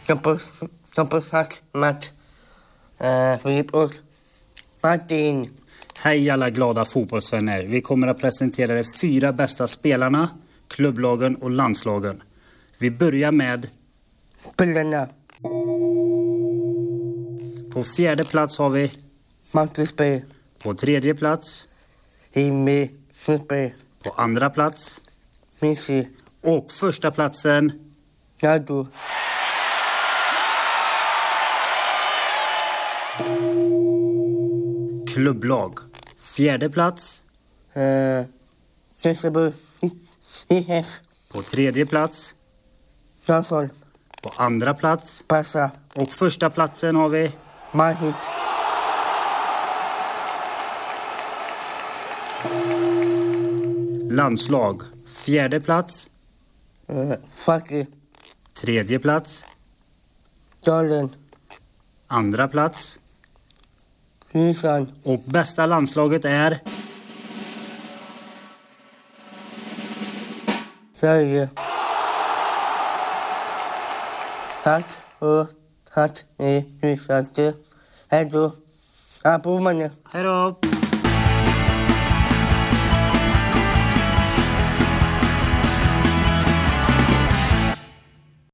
Stoppers, stoppersnack, Matt, eh, Filip och Martin. Hej alla glada fotbollsvänner. Vi kommer att presentera de fyra bästa spelarna, klubblagen och landslagen. Vi börjar med, Spelarna, på fjärde plats har vi, Marcus B, på tredje plats, Jimmy, Super, på andra plats Missy, och första platsen Nado, klubblag. Fjärde plats, eh, Jessebo, Nihes, på tredje plats, Jansson, på andra plats Passa, och första platsen har vi Mahit, landslag. Fjärde plats, eh, Fakir, tredje plats, Jalen, andra plats Nilsson, och bästa landslaget är Sverige. Hatt och E, hatt i utsatte. Hej då. Abonnemang. Hej då!